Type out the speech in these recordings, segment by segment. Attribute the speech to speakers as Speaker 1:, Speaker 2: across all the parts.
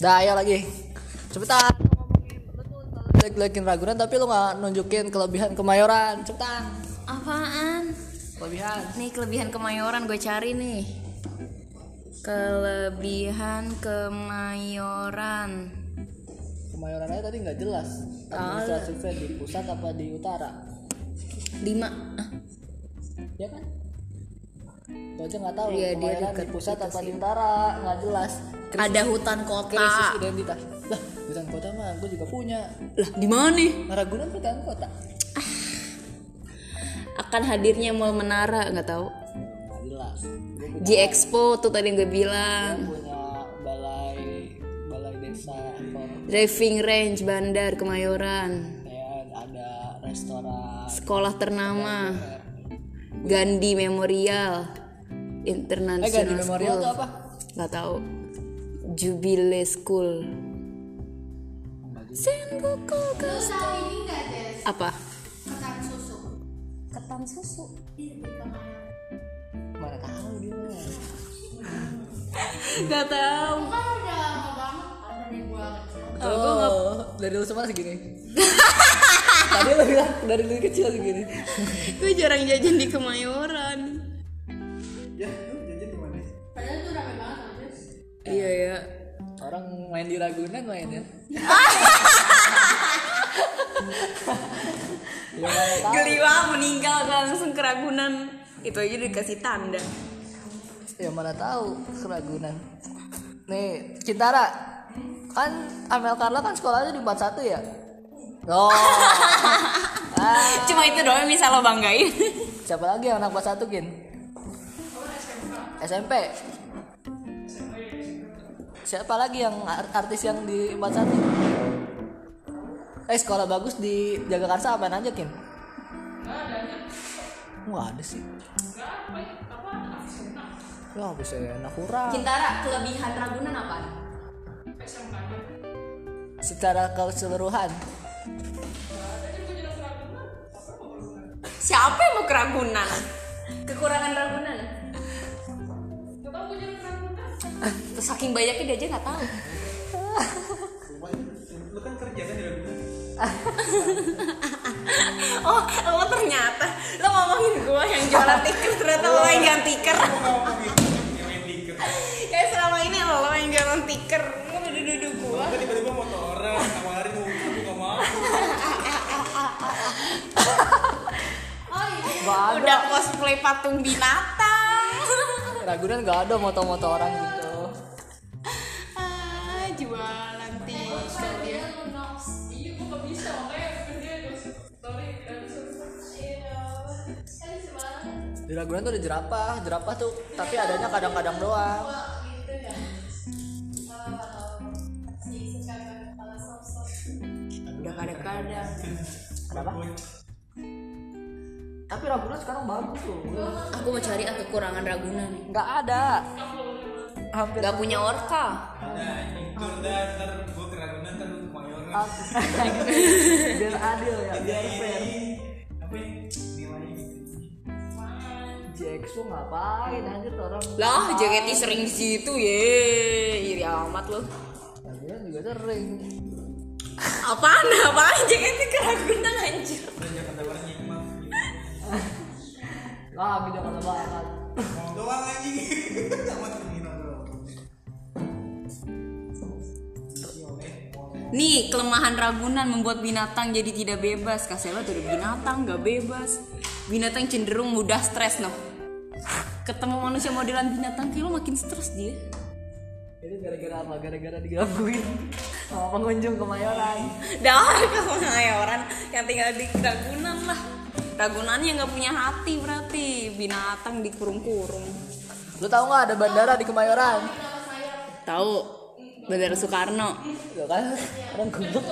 Speaker 1: Dah ayo lagi. Cepetan. Lu ngomongin, lu tuh Jelek-jelekin Ragunan tapi lu nggak nunjukin kelebihan Kemayoran. Cepetan.
Speaker 2: Apaan?
Speaker 1: Kelebihan.
Speaker 2: Nih kelebihan kemayoran gue cari nih. Kelebihan kemayoran.
Speaker 1: Kemayoran aja tadi nggak jelas. Administratifnya di pusat apa di utara?
Speaker 2: 5
Speaker 1: Ya kan? Gue aja nggak tahu
Speaker 2: Iya, dia
Speaker 1: Kemayoran di
Speaker 2: dekat
Speaker 1: pusat
Speaker 2: itu
Speaker 1: apa
Speaker 2: sih.
Speaker 1: di utara nggak jelas.
Speaker 2: Ada hutan
Speaker 1: Krisis
Speaker 2: kota.
Speaker 1: identitas. Lah, hutan kota mah gue juga punya.
Speaker 2: Lah di mana nih?
Speaker 1: Ragunan hutan kota.
Speaker 2: Akan hadirnya Mall Menara nggak tahu.
Speaker 1: Nggak jelas. Gue punya,
Speaker 2: Di Expo tuh tadi yang gue
Speaker 1: gua
Speaker 2: bilang.
Speaker 1: punya balai balai desa Angkor.
Speaker 2: Driving range Bandar Kemayoran.
Speaker 1: Kayak ada restoran
Speaker 2: Sekolah ternama. Gandhi
Speaker 1: eh
Speaker 2: Memorial
Speaker 1: Gandhi
Speaker 2: International
Speaker 1: Memorial
Speaker 2: School
Speaker 1: tuh apa?
Speaker 2: nggak tahu Jubilee School Sengoku apa ketan susu
Speaker 1: Mana tahu dia.
Speaker 2: nggak tahu
Speaker 1: Kalau Oh, gua dari lu semua segini. Tadi lu bilang dari lu kecil segini.
Speaker 2: gue jarang jajan di Kemayoran iya ya
Speaker 1: Orang main di Ragunan mainnya. ya mana tahu.
Speaker 2: geliwa meninggal langsung keragunan itu aja dikasih tanda
Speaker 1: Ya mana tahu Ragunan. Nih, Cintara. Kan Amel Carla kan sekolahnya di 41 ya? Oh. ah,
Speaker 2: cuma itu doang yang bisa lo banggain
Speaker 1: siapa lagi yang anak 41, Kin? SMP. Siapa lagi yang ar- artis yang di 41? Eh, sekolah bagus di Jagakarsa apaan aja, Kin? Wah, ada sih. Lah, bisa enak kurang.
Speaker 2: Kintara kelebihan ragunan apa
Speaker 1: secara keseluruhan
Speaker 2: Siapa yang mau keragunan? Kekurangan ragunan. Ah, Saking banyaknya dia aja nggak tahu. oh, lo ternyata lo ngomongin gue yang jualan tiket ternyata lo yang jualan tiket. Kayak selama ini lo yang jualan tiket, lo duduk-duduk gue.
Speaker 3: Gue tiba-tiba motoran, tawarin mau aku gak mau.
Speaker 1: nggak ada
Speaker 2: Udah cosplay patung binatang.
Speaker 1: Ragunan nggak ada moto-moto orang gitu
Speaker 2: Ah, jualan tiket ya. dia.
Speaker 1: di Ragunan tuh ada jerapah jerapah tuh tapi adanya kadang-kadang doang
Speaker 2: Udah kadang-kadang.
Speaker 1: kenapa tapi Ragunan sekarang bagus loh
Speaker 2: Aku mau cari ah, kekurangan Ragunan nih.
Speaker 1: nggak ada hampir
Speaker 2: Gak punya orka.
Speaker 3: Nah, itu udah ntar gue keragunan ntar gue kemayoran.
Speaker 1: biar adil ya
Speaker 2: Iya,
Speaker 1: biar fair
Speaker 3: Apa ya? Nilainya gitu.
Speaker 1: Jackson ngapain anjir tuh orang
Speaker 2: Lah, JKT sering di situ ye. Iri amat lo.
Speaker 1: Ragunan Iya, juga sering
Speaker 2: Apaan? Apaan JKT ke Ragunan anjir?
Speaker 3: Udah jangan tawaran nyimak.
Speaker 1: lah beda kata banget
Speaker 3: Mau doang anjing. Sama terminal doang.
Speaker 2: Nih, kelemahan Ragunan membuat binatang jadi tidak bebas. Kasela tuh udah binatang, gak bebas. Binatang cenderung mudah stres, noh. Ketemu manusia modelan binatang, kayak lo makin stres dia.
Speaker 1: itu gara-gara apa gara-gara digangguin sama pengunjung kemayoran
Speaker 2: Dah, kalau orang yang tinggal di Ragunan lah. Ragunan yang nggak punya hati berarti binatang dikurung-kurung.
Speaker 1: lu tahu nggak ada bandara di kemayoran
Speaker 2: Tahu? Bandara Soekarno,
Speaker 1: Ya kan orang goblok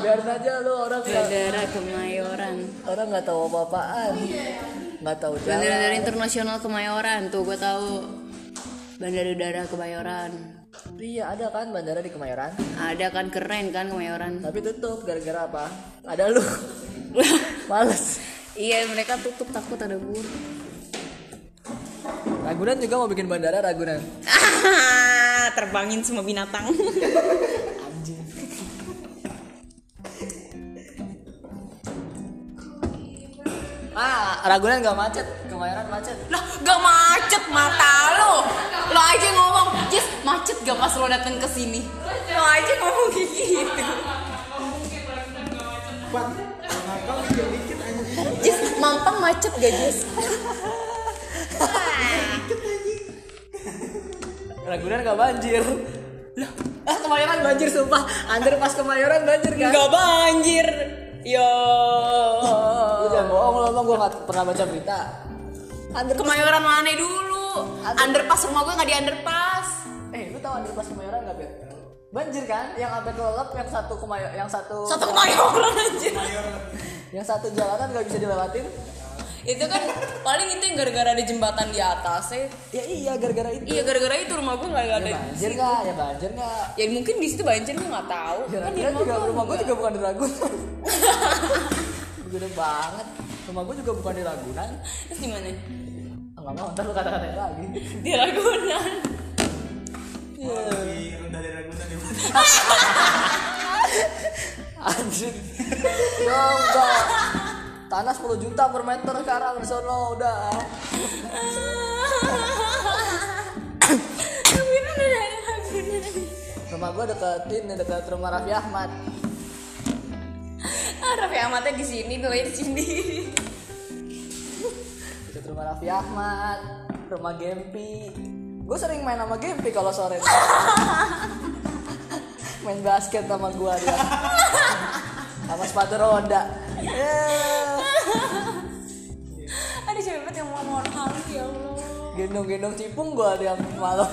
Speaker 1: biarin aja lu orang nggak
Speaker 2: Bandara Kemayoran,
Speaker 1: orang nggak tahu apa apaan nggak tahu jalan
Speaker 2: iya. Bandara Internasional Kemayoran tuh gue tahu. Bandara Udara Kemayoran.
Speaker 1: iya ada kan bandara di Kemayoran
Speaker 2: Ada kan keren kan Kemayoran.
Speaker 1: tapi tutup gara-gara apa ada lu males
Speaker 2: iya mereka tutup takut ada burung.
Speaker 1: Ragunan juga mau bikin bandara Ragunan.
Speaker 2: Ah, terbangin semua binatang.
Speaker 1: Anjing. Ah, Ragunan gak macet, Kemayoran macet.
Speaker 2: lah, gak macet mata lo. Lo aja ngomong, Jess macet gak pas lo dateng ke sini. Lo aja ngomong kayak gitu. Jess, mampang macet gak Jess?
Speaker 1: Ragunan gak banjir. Lah, ah, Kemayoran banjir sumpah. Anjir pas Kemayoran banjir kan.
Speaker 2: Gak banjir. Yo.
Speaker 1: Lu jangan bohong lu emang gua gak pernah baca berita. Under
Speaker 2: Kemayoran mana dulu? Underpass rumah gue gak di underpass.
Speaker 1: eh lu tahu underpass Kemayoran gak, Bet? Banjir kan? Yang sampai kelelep yang satu kemayo yang satu
Speaker 2: Satu kemayoran anjir.
Speaker 1: yang satu jalanan gak bisa dilewatin.
Speaker 2: itu kan paling itu yang gara-gara ada jembatan di atas ya.
Speaker 1: Ya iya gara-gara itu.
Speaker 2: Iya gara-gara itu rumah gue nggak ada.
Speaker 1: Ya banjir gak? Ya banjir gak?
Speaker 2: Ya mungkin di situ banjir gue nggak tahu.
Speaker 1: Ya,
Speaker 2: kan di
Speaker 1: Ragunan juga
Speaker 2: rumah gue
Speaker 1: rumah gue juga bukan di Ragunan. Gede banget. Rumah gue juga bukan di Ragunan.
Speaker 2: Terus gimana?
Speaker 1: Enggak mau, ntar lu kata-katain lagi.
Speaker 2: Di Ragunan.
Speaker 3: Iya. Lebih rendah dari Ragunan ya.
Speaker 1: Anjing. Coba. Tanah 10 juta per meter sekarang di sono udah.
Speaker 2: Ragunan ada Ragunan.
Speaker 1: Rumah gue deket ini deket rumah Raffi Ahmad.
Speaker 2: Ah, Raffi Ahmadnya di sini, doain di sini.
Speaker 1: Deket rumah Raffi Ahmad. Rumah Gempi. Gue sering main sama Gempi kalau sore. main basket sama gue dia. sama sepatu roda. Eh,
Speaker 2: Ada cewek banget yang mau mohon halus ya Allah.
Speaker 1: Gendong-gendong cipung gue dia malam.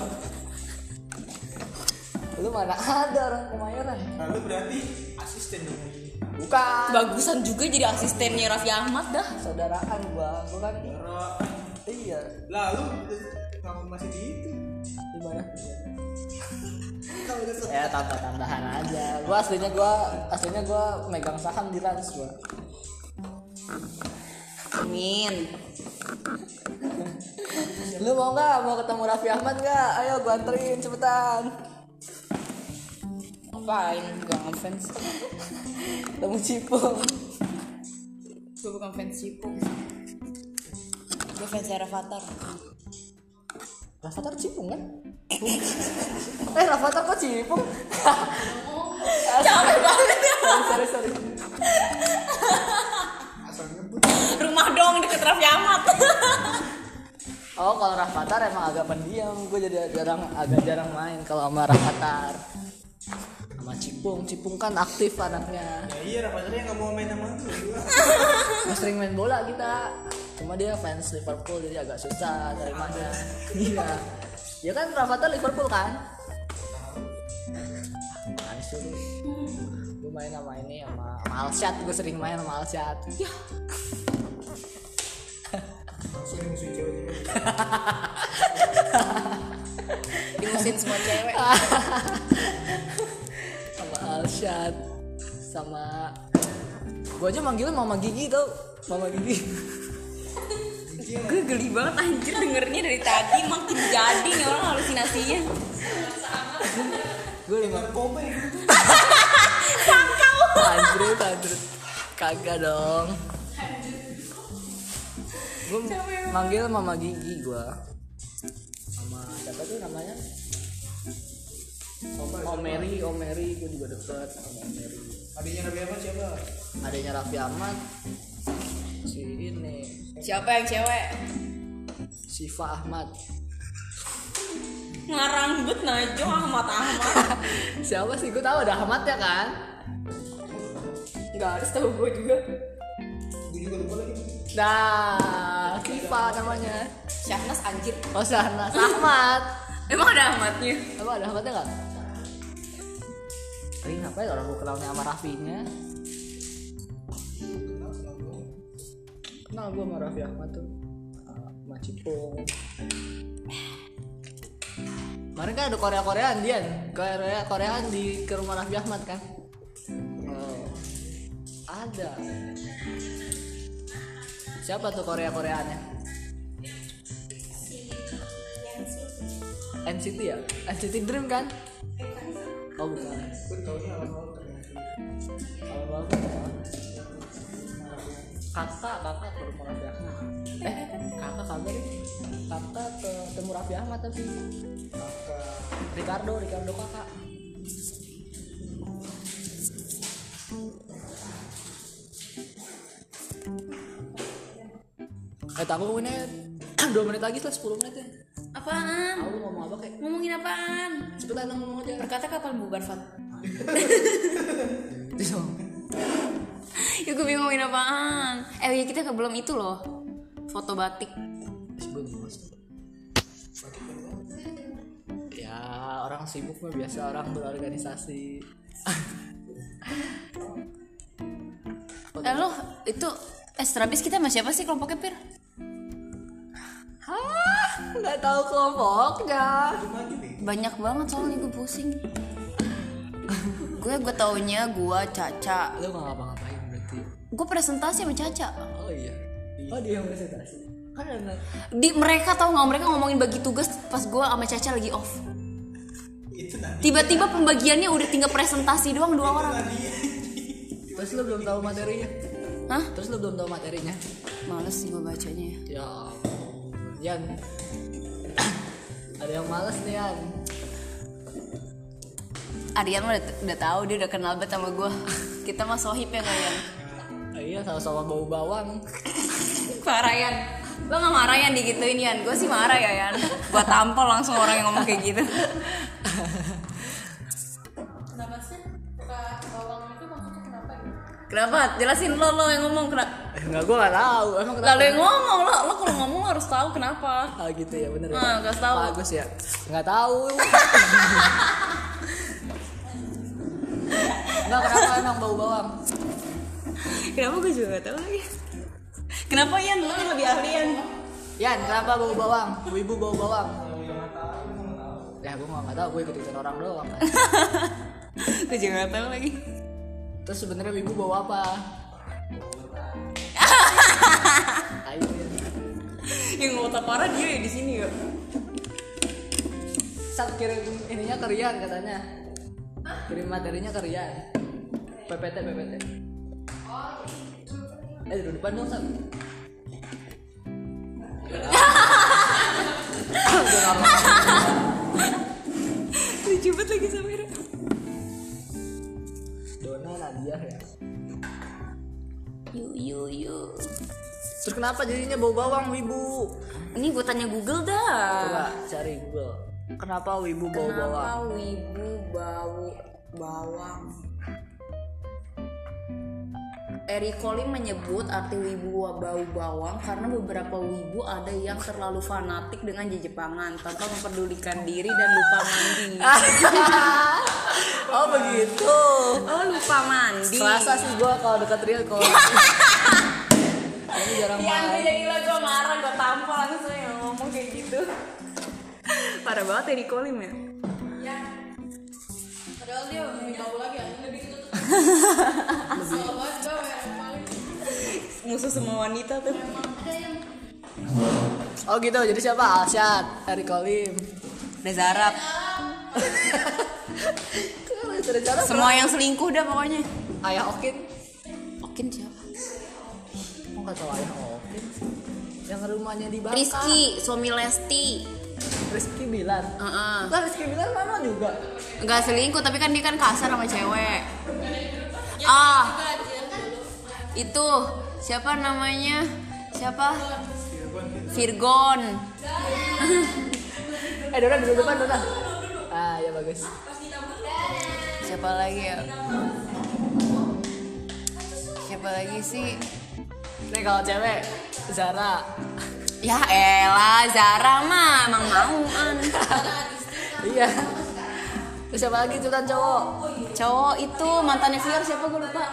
Speaker 1: Lu mana ada orang kemayoran?
Speaker 3: Lalu Nah, berarti asisten dong ini.
Speaker 1: Bukan.
Speaker 2: Bagusan juga jadi asistennya Raffi Ahmad dah.
Speaker 1: saudaraan gua gua kan
Speaker 3: Ro-
Speaker 1: iya
Speaker 3: Lalu kamu masih di itu.
Speaker 1: di mana
Speaker 3: Kalau udah
Speaker 1: ya tambah tambahan aja gua aslinya gua aslinya gua megang saham di Rans gua
Speaker 2: Amin.
Speaker 1: lu mau nggak mau ketemu Raffi Ahmad nggak ayo gua anterin cepetan
Speaker 2: Ngapain? Gak ngefans.
Speaker 1: ketemu Cipung
Speaker 2: Gue bukan fans Cipung. Gue fans Avatar.
Speaker 1: Rafathar Cipung kan eh Rafathar kok Cipung
Speaker 2: Capek banget ya.
Speaker 1: sorry sorry
Speaker 2: Rumah dong deket Raffi Ahmad.
Speaker 1: oh kalau Rafathar emang agak pendiam gua jadi jarang agak jarang main kalau sama Rafathar sama Cipung Cipung kan aktif anaknya
Speaker 3: Ya iya rapatnya nggak mau main sama aku.
Speaker 1: Nggak sering main bola kita cuma dia fans Liverpool jadi agak susah dari mana iya ya kan Rafathar Liverpool kan Apaan sih lu? gue main sama ini sama, sama Alshad gue sering main sama Alshad ya
Speaker 3: Sering musuh cewek.
Speaker 2: Dimusin semua cewek.
Speaker 1: sama Alshad sama gue aja manggilnya Mama Gigi tau Mama Gigi
Speaker 2: Gue geli banget anjir dengernya dari tadi makin jadi nih orang halusinasinya.
Speaker 1: gue lima
Speaker 3: Narkoba ya.
Speaker 1: Android Android kagak dong gue manggil mama gigi gue sama siapa tuh namanya Omeri Omeri gue juga deket sama Omeri
Speaker 3: Adiknya Nabi Ahmad siapa?
Speaker 1: adanya Raffi Ahmad si ini
Speaker 2: Siapa yang cewek?
Speaker 1: Siva Ahmad
Speaker 2: Ngaranggut Najwa Ahmad Ahmad.
Speaker 1: siapa sih gue tahu ada Ahmad ya kan
Speaker 2: Gak harus tahu gue juga.
Speaker 3: Gue juga lupa lagi.
Speaker 1: nah Siva namanya
Speaker 2: Syahnas anjir.
Speaker 1: oh Sahnas Ahmad
Speaker 2: Emang ada Ahmadnya?
Speaker 1: Apa ada hambatan nggak? Tapi ngapain orang gue kenalnya sama Raffinya? Kenal gue sama Raffi Ahmad tuh Ah, sama Cipung Kemarin kan ada Korea-Koreaan Dian Korea-Koreaan di ke rumah Raffi Ahmad kan? Oh, ada Siapa tuh Korea-Koreaannya? NCT ya NCT Dream kan oh bukan Alan Walker ya. kakak kakak ke rumah Raffi Ahmad eh kakak kabar kakak ke temu Raffi Ahmad tapi Ricardo Ricardo kakak Eh tanggung ini 2 menit lagi lah 10 menit ya
Speaker 2: Apaan?
Speaker 1: Aku ngomong apa kayak
Speaker 2: Ngomongin apaan?
Speaker 1: Cepetan lah ngomong aja
Speaker 2: Berkata kapan bubar, Fat?
Speaker 1: Bisa
Speaker 2: ya gue bingung ngomongin apaan. Eh, ya kita ke belum itu loh. Foto batik.
Speaker 1: Gue mau Ya orang sibuk mah biasa orang berorganisasi
Speaker 2: Eh, lo itu eh setelah bis kita sama siapa sih kelompoknya, Pir?
Speaker 1: Hah? Gak tahu kelompoknya
Speaker 2: Banyak banget soalnya gue pusing. gue gue taunya gue Caca.
Speaker 1: Lu gak ngapa-ngapain berarti
Speaker 2: Gue presentasi sama Caca.
Speaker 1: Oh iya Oh dia yang presentasi Kan ada
Speaker 2: Di mereka tau nggak mereka ngomongin bagi tugas pas gue sama Caca lagi off.
Speaker 3: itu nanti
Speaker 2: Tiba-tiba pembagiannya udah tinggal presentasi doang dua orang.
Speaker 1: Terus lu belum tahu materinya
Speaker 2: Hah?
Speaker 1: Terus lu belum tahu materinya
Speaker 2: Males sih gue bacanya ya.
Speaker 1: Ya ampun. Yan Ada yang males nih Yan
Speaker 2: Aryan mah udah, udah tahu dia udah kenal banget sama gue. Kita mah sohib ya Ryan.
Speaker 1: Ah, Iya sama-sama bau bawang
Speaker 2: Pak Ryan, lo gak marah Yan digituin Yan? Gue sih marah ya Yan. Gue tampol langsung orang yang ngomong kayak gitu.
Speaker 4: Kenapa sih? Buka bawang itu maksudnya kenapa ya?
Speaker 2: Kenapa? Jelasin lo lo yang ngomong kenapa?
Speaker 1: Enggak gue gak tahu Emang kenapa
Speaker 2: Lalu yang ngomong lo lo kalau ngomong lo harus tahu kenapa.
Speaker 1: Ah gitu ya bener ya.
Speaker 2: Ah, kasih tahu.
Speaker 1: Pak Agus ya. Enggak tahu. Enggak kenapa emang bau bawang.
Speaker 2: Kenapa gue juga gak tahu lagi. Kenapa Yan? Lo yang lebih ahli Yan.
Speaker 1: Yan, kenapa bau bawang? Bu ibu bau bawang. Ya gue nggak tahu, gue ikut ikutan orang doang.
Speaker 2: gue juga gak tahu lagi.
Speaker 1: Terus sebenarnya ibu bau apa? Ayo, Yan.
Speaker 2: Yang ngotot parah dia ya di sini ya.
Speaker 1: Sat kirim ininya ke Rian katanya. Kirim materinya ke Rian. PPT PPT. Eh duduk depan dong Sat. Udah lama.
Speaker 2: Lucu banget lagi Samira.
Speaker 1: Dona Nadia ya.
Speaker 2: Yu yu yu.
Speaker 1: Terus kenapa jadinya bau bawang wibu?
Speaker 2: Ini gue tanya Google dah.
Speaker 1: Coba cari Google. Kenapa wibu bau bawang?
Speaker 2: Kenapa wibu bau bawang? Eric Colin menyebut arti wibu bau bawang karena beberapa wibu ada yang terlalu fanatik dengan jejepangan tanpa memperdulikan diri dan lupa mandi.
Speaker 1: Ah. oh begitu.
Speaker 2: Oh lupa mandi.
Speaker 1: Kerasa sih gua kalau dekat Rian kalau. Ini jarang
Speaker 2: Iya,
Speaker 1: main.
Speaker 2: gue jadi lo gue marah, gue tampol langsung
Speaker 4: ya
Speaker 2: yang ngomong kayak gitu. Parah banget Eric Colin ya.
Speaker 4: Ya. Padahal dia lebih
Speaker 2: Iya.
Speaker 4: jauh lagi, anjing lebih gitu tuh. Salah banget gue, yang paling
Speaker 2: Musuh semua wanita tuh.
Speaker 4: emang ada yang
Speaker 1: Oh gitu. Jadi siapa? Alsyad, Eri Kolim.
Speaker 2: Reza Arab.
Speaker 4: Iya,
Speaker 1: Kalau itu ada cara
Speaker 2: Semua yang selingkuh dah pokoknya.
Speaker 1: ayah Okin.
Speaker 2: Okin siapa?
Speaker 1: Oh nggak tahu ayah Okin. Yang rumahnya di Bangka.
Speaker 2: Rizky, suami Lesti.
Speaker 1: Rizky Bilar.
Speaker 2: Heeh.
Speaker 1: Lah Rizky Bilar mana juga?
Speaker 2: Nggak selingkuh, tapi kan dia kan kasar sama cewek. Ah, itu siapa namanya? Siapa? Virgon.
Speaker 1: Eh Dona duduk depan Dona. Ah ya bagus.
Speaker 2: Siapa lagi ya? Siapa lagi sih?
Speaker 1: Nih kalau cewek Zara.
Speaker 2: Ya elah, Zara mah emang mau an.
Speaker 1: iya. Terus siapa lagi ikutan cowok?
Speaker 2: Cowok itu mantannya Fior siapa gue lupa.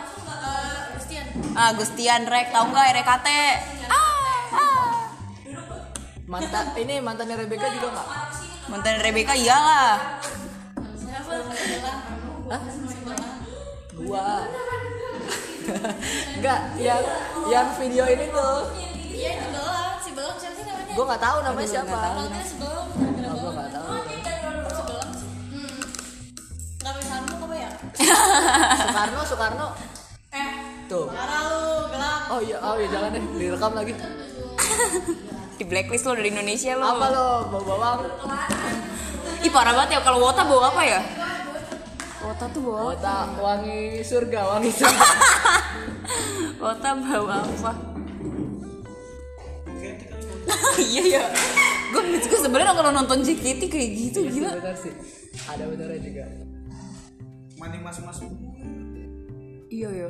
Speaker 2: Ah, Gustian Rek, tau nggak RKT? Ah, ah.
Speaker 1: Mantan ini mantannya Rebecca juga nggak?
Speaker 2: Mantan Rebecca iyalah.
Speaker 1: Gua. Enggak, yang yang video ini tuh.
Speaker 4: Iya, si belang, si belang siapa sih namanya?
Speaker 1: Gua nggak tahu namanya
Speaker 2: Aduh, nggak
Speaker 1: siapa.
Speaker 4: Belangnya si belang,
Speaker 1: Oh, gua nggak tahu.
Speaker 4: Oh, dia Hmm. ya?
Speaker 1: Soekarno Soekarno
Speaker 4: Eh,
Speaker 1: tuh
Speaker 4: parah lu, gelap.
Speaker 1: oh iya oh iya jangan deh direkam lagi
Speaker 2: Di blacklist lo dari Indonesia lo.
Speaker 1: apa lo bau bawang
Speaker 2: Ih parah banget ya kalau Wota bawa apa ya? Wota tuh bawa apa?
Speaker 1: kota Oh, wangi surga wangi surga
Speaker 2: Wota bawa apa? Iya ya. Gue gue sebenarnya kalau nonton JKT kayak gitu
Speaker 1: Iya
Speaker 2: gila.
Speaker 1: sih, benar sih ada benernya juga
Speaker 3: maning mas mas
Speaker 2: Iya ya.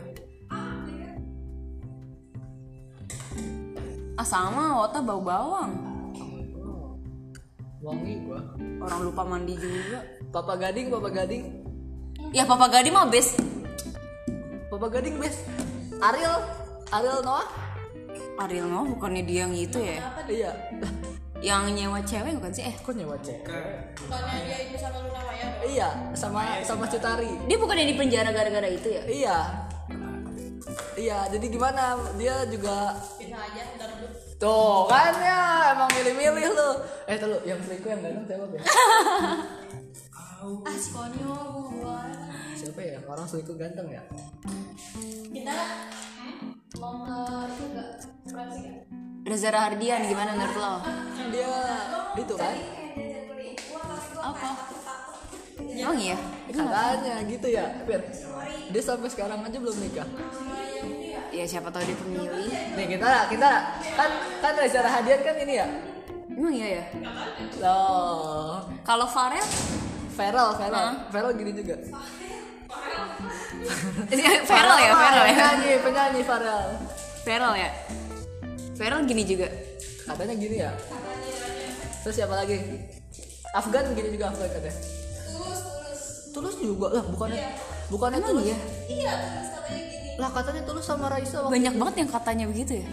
Speaker 2: Ah sama Wota bau bawang.
Speaker 1: wangi gua
Speaker 2: Orang lupa mandi juga.
Speaker 1: Papa Gading Papa Gading
Speaker 2: Ya Papa Gadi mah best.
Speaker 1: Papa Gading best Ariel Ariel Noah
Speaker 2: Ariel mah bukannya dia yang itu ya?
Speaker 1: iya Lah,
Speaker 2: Yang nyewa cewek bukan sih? Eh
Speaker 1: kok nyewa cewek
Speaker 4: Soalnya dia itu sama Luna Maya.
Speaker 1: iya sama sama Cutari
Speaker 2: dia bukannya di penjara gara-gara itu ya?
Speaker 1: iya iya jadi gimana dia juga
Speaker 4: Pindah aja, ntar dulu.
Speaker 1: Tuh kan ya emang milih-milih lu. Eh tuh lu, yang selingkuh yang ganteng siapa Beb?
Speaker 4: Ah, si konyol gua.
Speaker 1: Siapa ya? Orang selingkuh ganteng ya?
Speaker 4: Kita mau ke itu enggak? Prancis enggak?
Speaker 2: Reza Rahardian gimana menurut lo?
Speaker 1: Dia itu kan?
Speaker 2: Apa? Emang iya?
Speaker 1: Katanya gitu ya, Fir. Dia sampai sekarang aja belum nikah.
Speaker 2: Ya siapa tahu dia pemilih.
Speaker 1: Nih kita kita kan kan Reza Rahadian kan ini ya.
Speaker 2: Emang iya ya?
Speaker 1: Loh,
Speaker 2: Kalau Farel,
Speaker 1: Feral, Feral, Feral gini juga.
Speaker 2: Farel ya, Farel ya.
Speaker 1: Penyanyi, penyanyi Feral.
Speaker 2: Farel ya. Farel gini juga.
Speaker 1: Katanya gini ya. Terus siapa lagi? Afgan gini juga Afgan katanya. Tulus juga lah, bukannya bukannya
Speaker 2: Emang
Speaker 1: tulus
Speaker 2: iya?
Speaker 1: Lah katanya tulus sama Raisa waktu
Speaker 2: Banyak banget yang katanya begitu ya?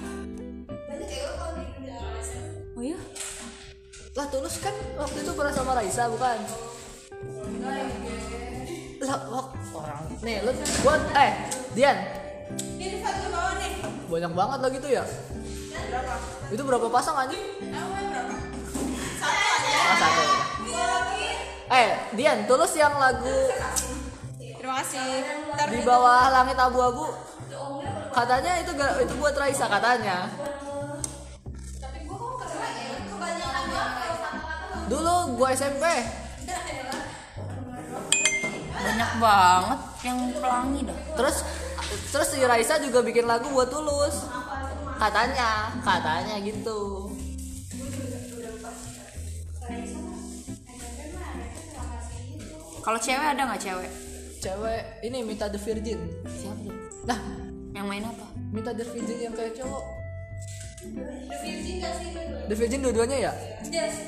Speaker 2: Oh iya?
Speaker 1: Lah tulus kan waktu itu pernah sama Raisa bukan? Lah wak- orang nih lu gua eh Dian
Speaker 4: Ini satu bawah nih.
Speaker 1: banyak banget lah gitu ya. Itu berapa pasang anjing? Ah, satu. Eh, Dian, tulus yang lagu
Speaker 4: Terima kasih. Ntar
Speaker 1: di bawah langit abu-abu katanya itu ga- itu buat Raisa katanya
Speaker 4: ya?
Speaker 1: dulu gua SMP
Speaker 2: Banyak banget yang pelangi dah.
Speaker 1: terus terus si Raisa juga bikin lagu buat Tulus katanya katanya gitu
Speaker 2: Kalau cewek ada nggak cewek?
Speaker 1: cewek ini Mita the Virgin
Speaker 2: Siapa tuh?
Speaker 1: nah
Speaker 2: Yang main apa?
Speaker 1: Mita the Virgin yang kayak cowok The Virgin dua-duanya ya?
Speaker 4: Yes.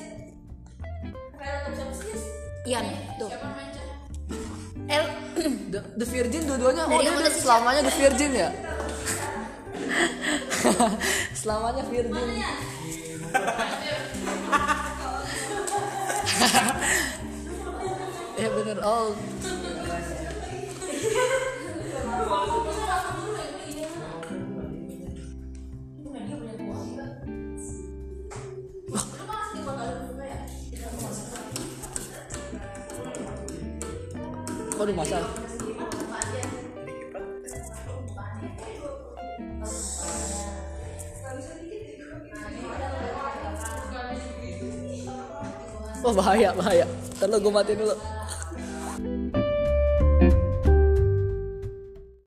Speaker 4: Kayak tetap siapa sih? Yes.
Speaker 2: Ian. Tuh.
Speaker 4: Siapa main cewek?
Speaker 2: El.
Speaker 1: The, the Virgin dua-duanya? Oh,
Speaker 2: Dari
Speaker 1: dia
Speaker 2: aku
Speaker 1: udah
Speaker 2: tadi
Speaker 1: selamanya The Virgin ya? selamanya Virgin. ya bener, oh kok dimasak? Oh bahaya, bahaya. Ntar lu gue matiin dulu.